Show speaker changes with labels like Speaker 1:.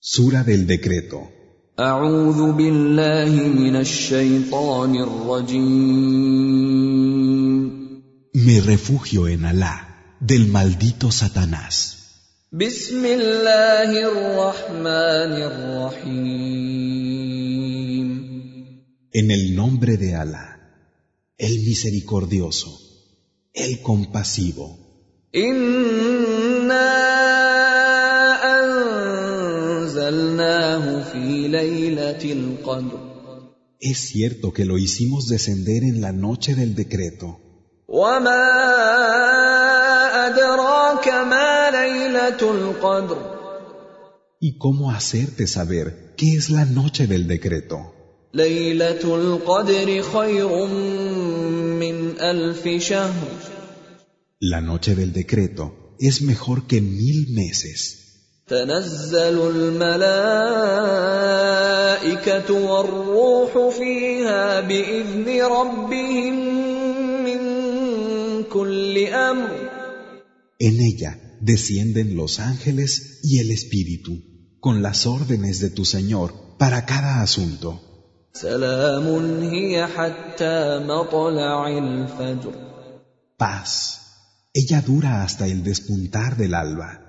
Speaker 1: Sura del decreto.
Speaker 2: أعوذ بالله من الشيطان الرجيم
Speaker 1: Me refugio en Alá, del maldito Satanás.
Speaker 2: بسم الله الرحمن الرحيم
Speaker 1: En el nombre de Alá, el misericordioso, el compasivo.
Speaker 2: إنا أنزلناه في ليلة القدر
Speaker 1: Es cierto que lo hicimos descender en la noche del decreto.
Speaker 2: وما أدراك ما ليلة القدر
Speaker 1: ¿Y cómo hacerte saber qué es la noche del decreto?
Speaker 2: ليلة القدر خير من ألف شهر
Speaker 1: La noche del decreto es mejor que mil meses.
Speaker 2: تنزل الملائكة والروح فيها بإذن ربهم من كل أمر
Speaker 1: En ella descienden los ángeles y el Espíritu, con las órdenes de tu Señor para cada asunto.
Speaker 2: سلام هي حتى مطلع الفجر
Speaker 1: Paz. Ella dura hasta el despuntar del alba.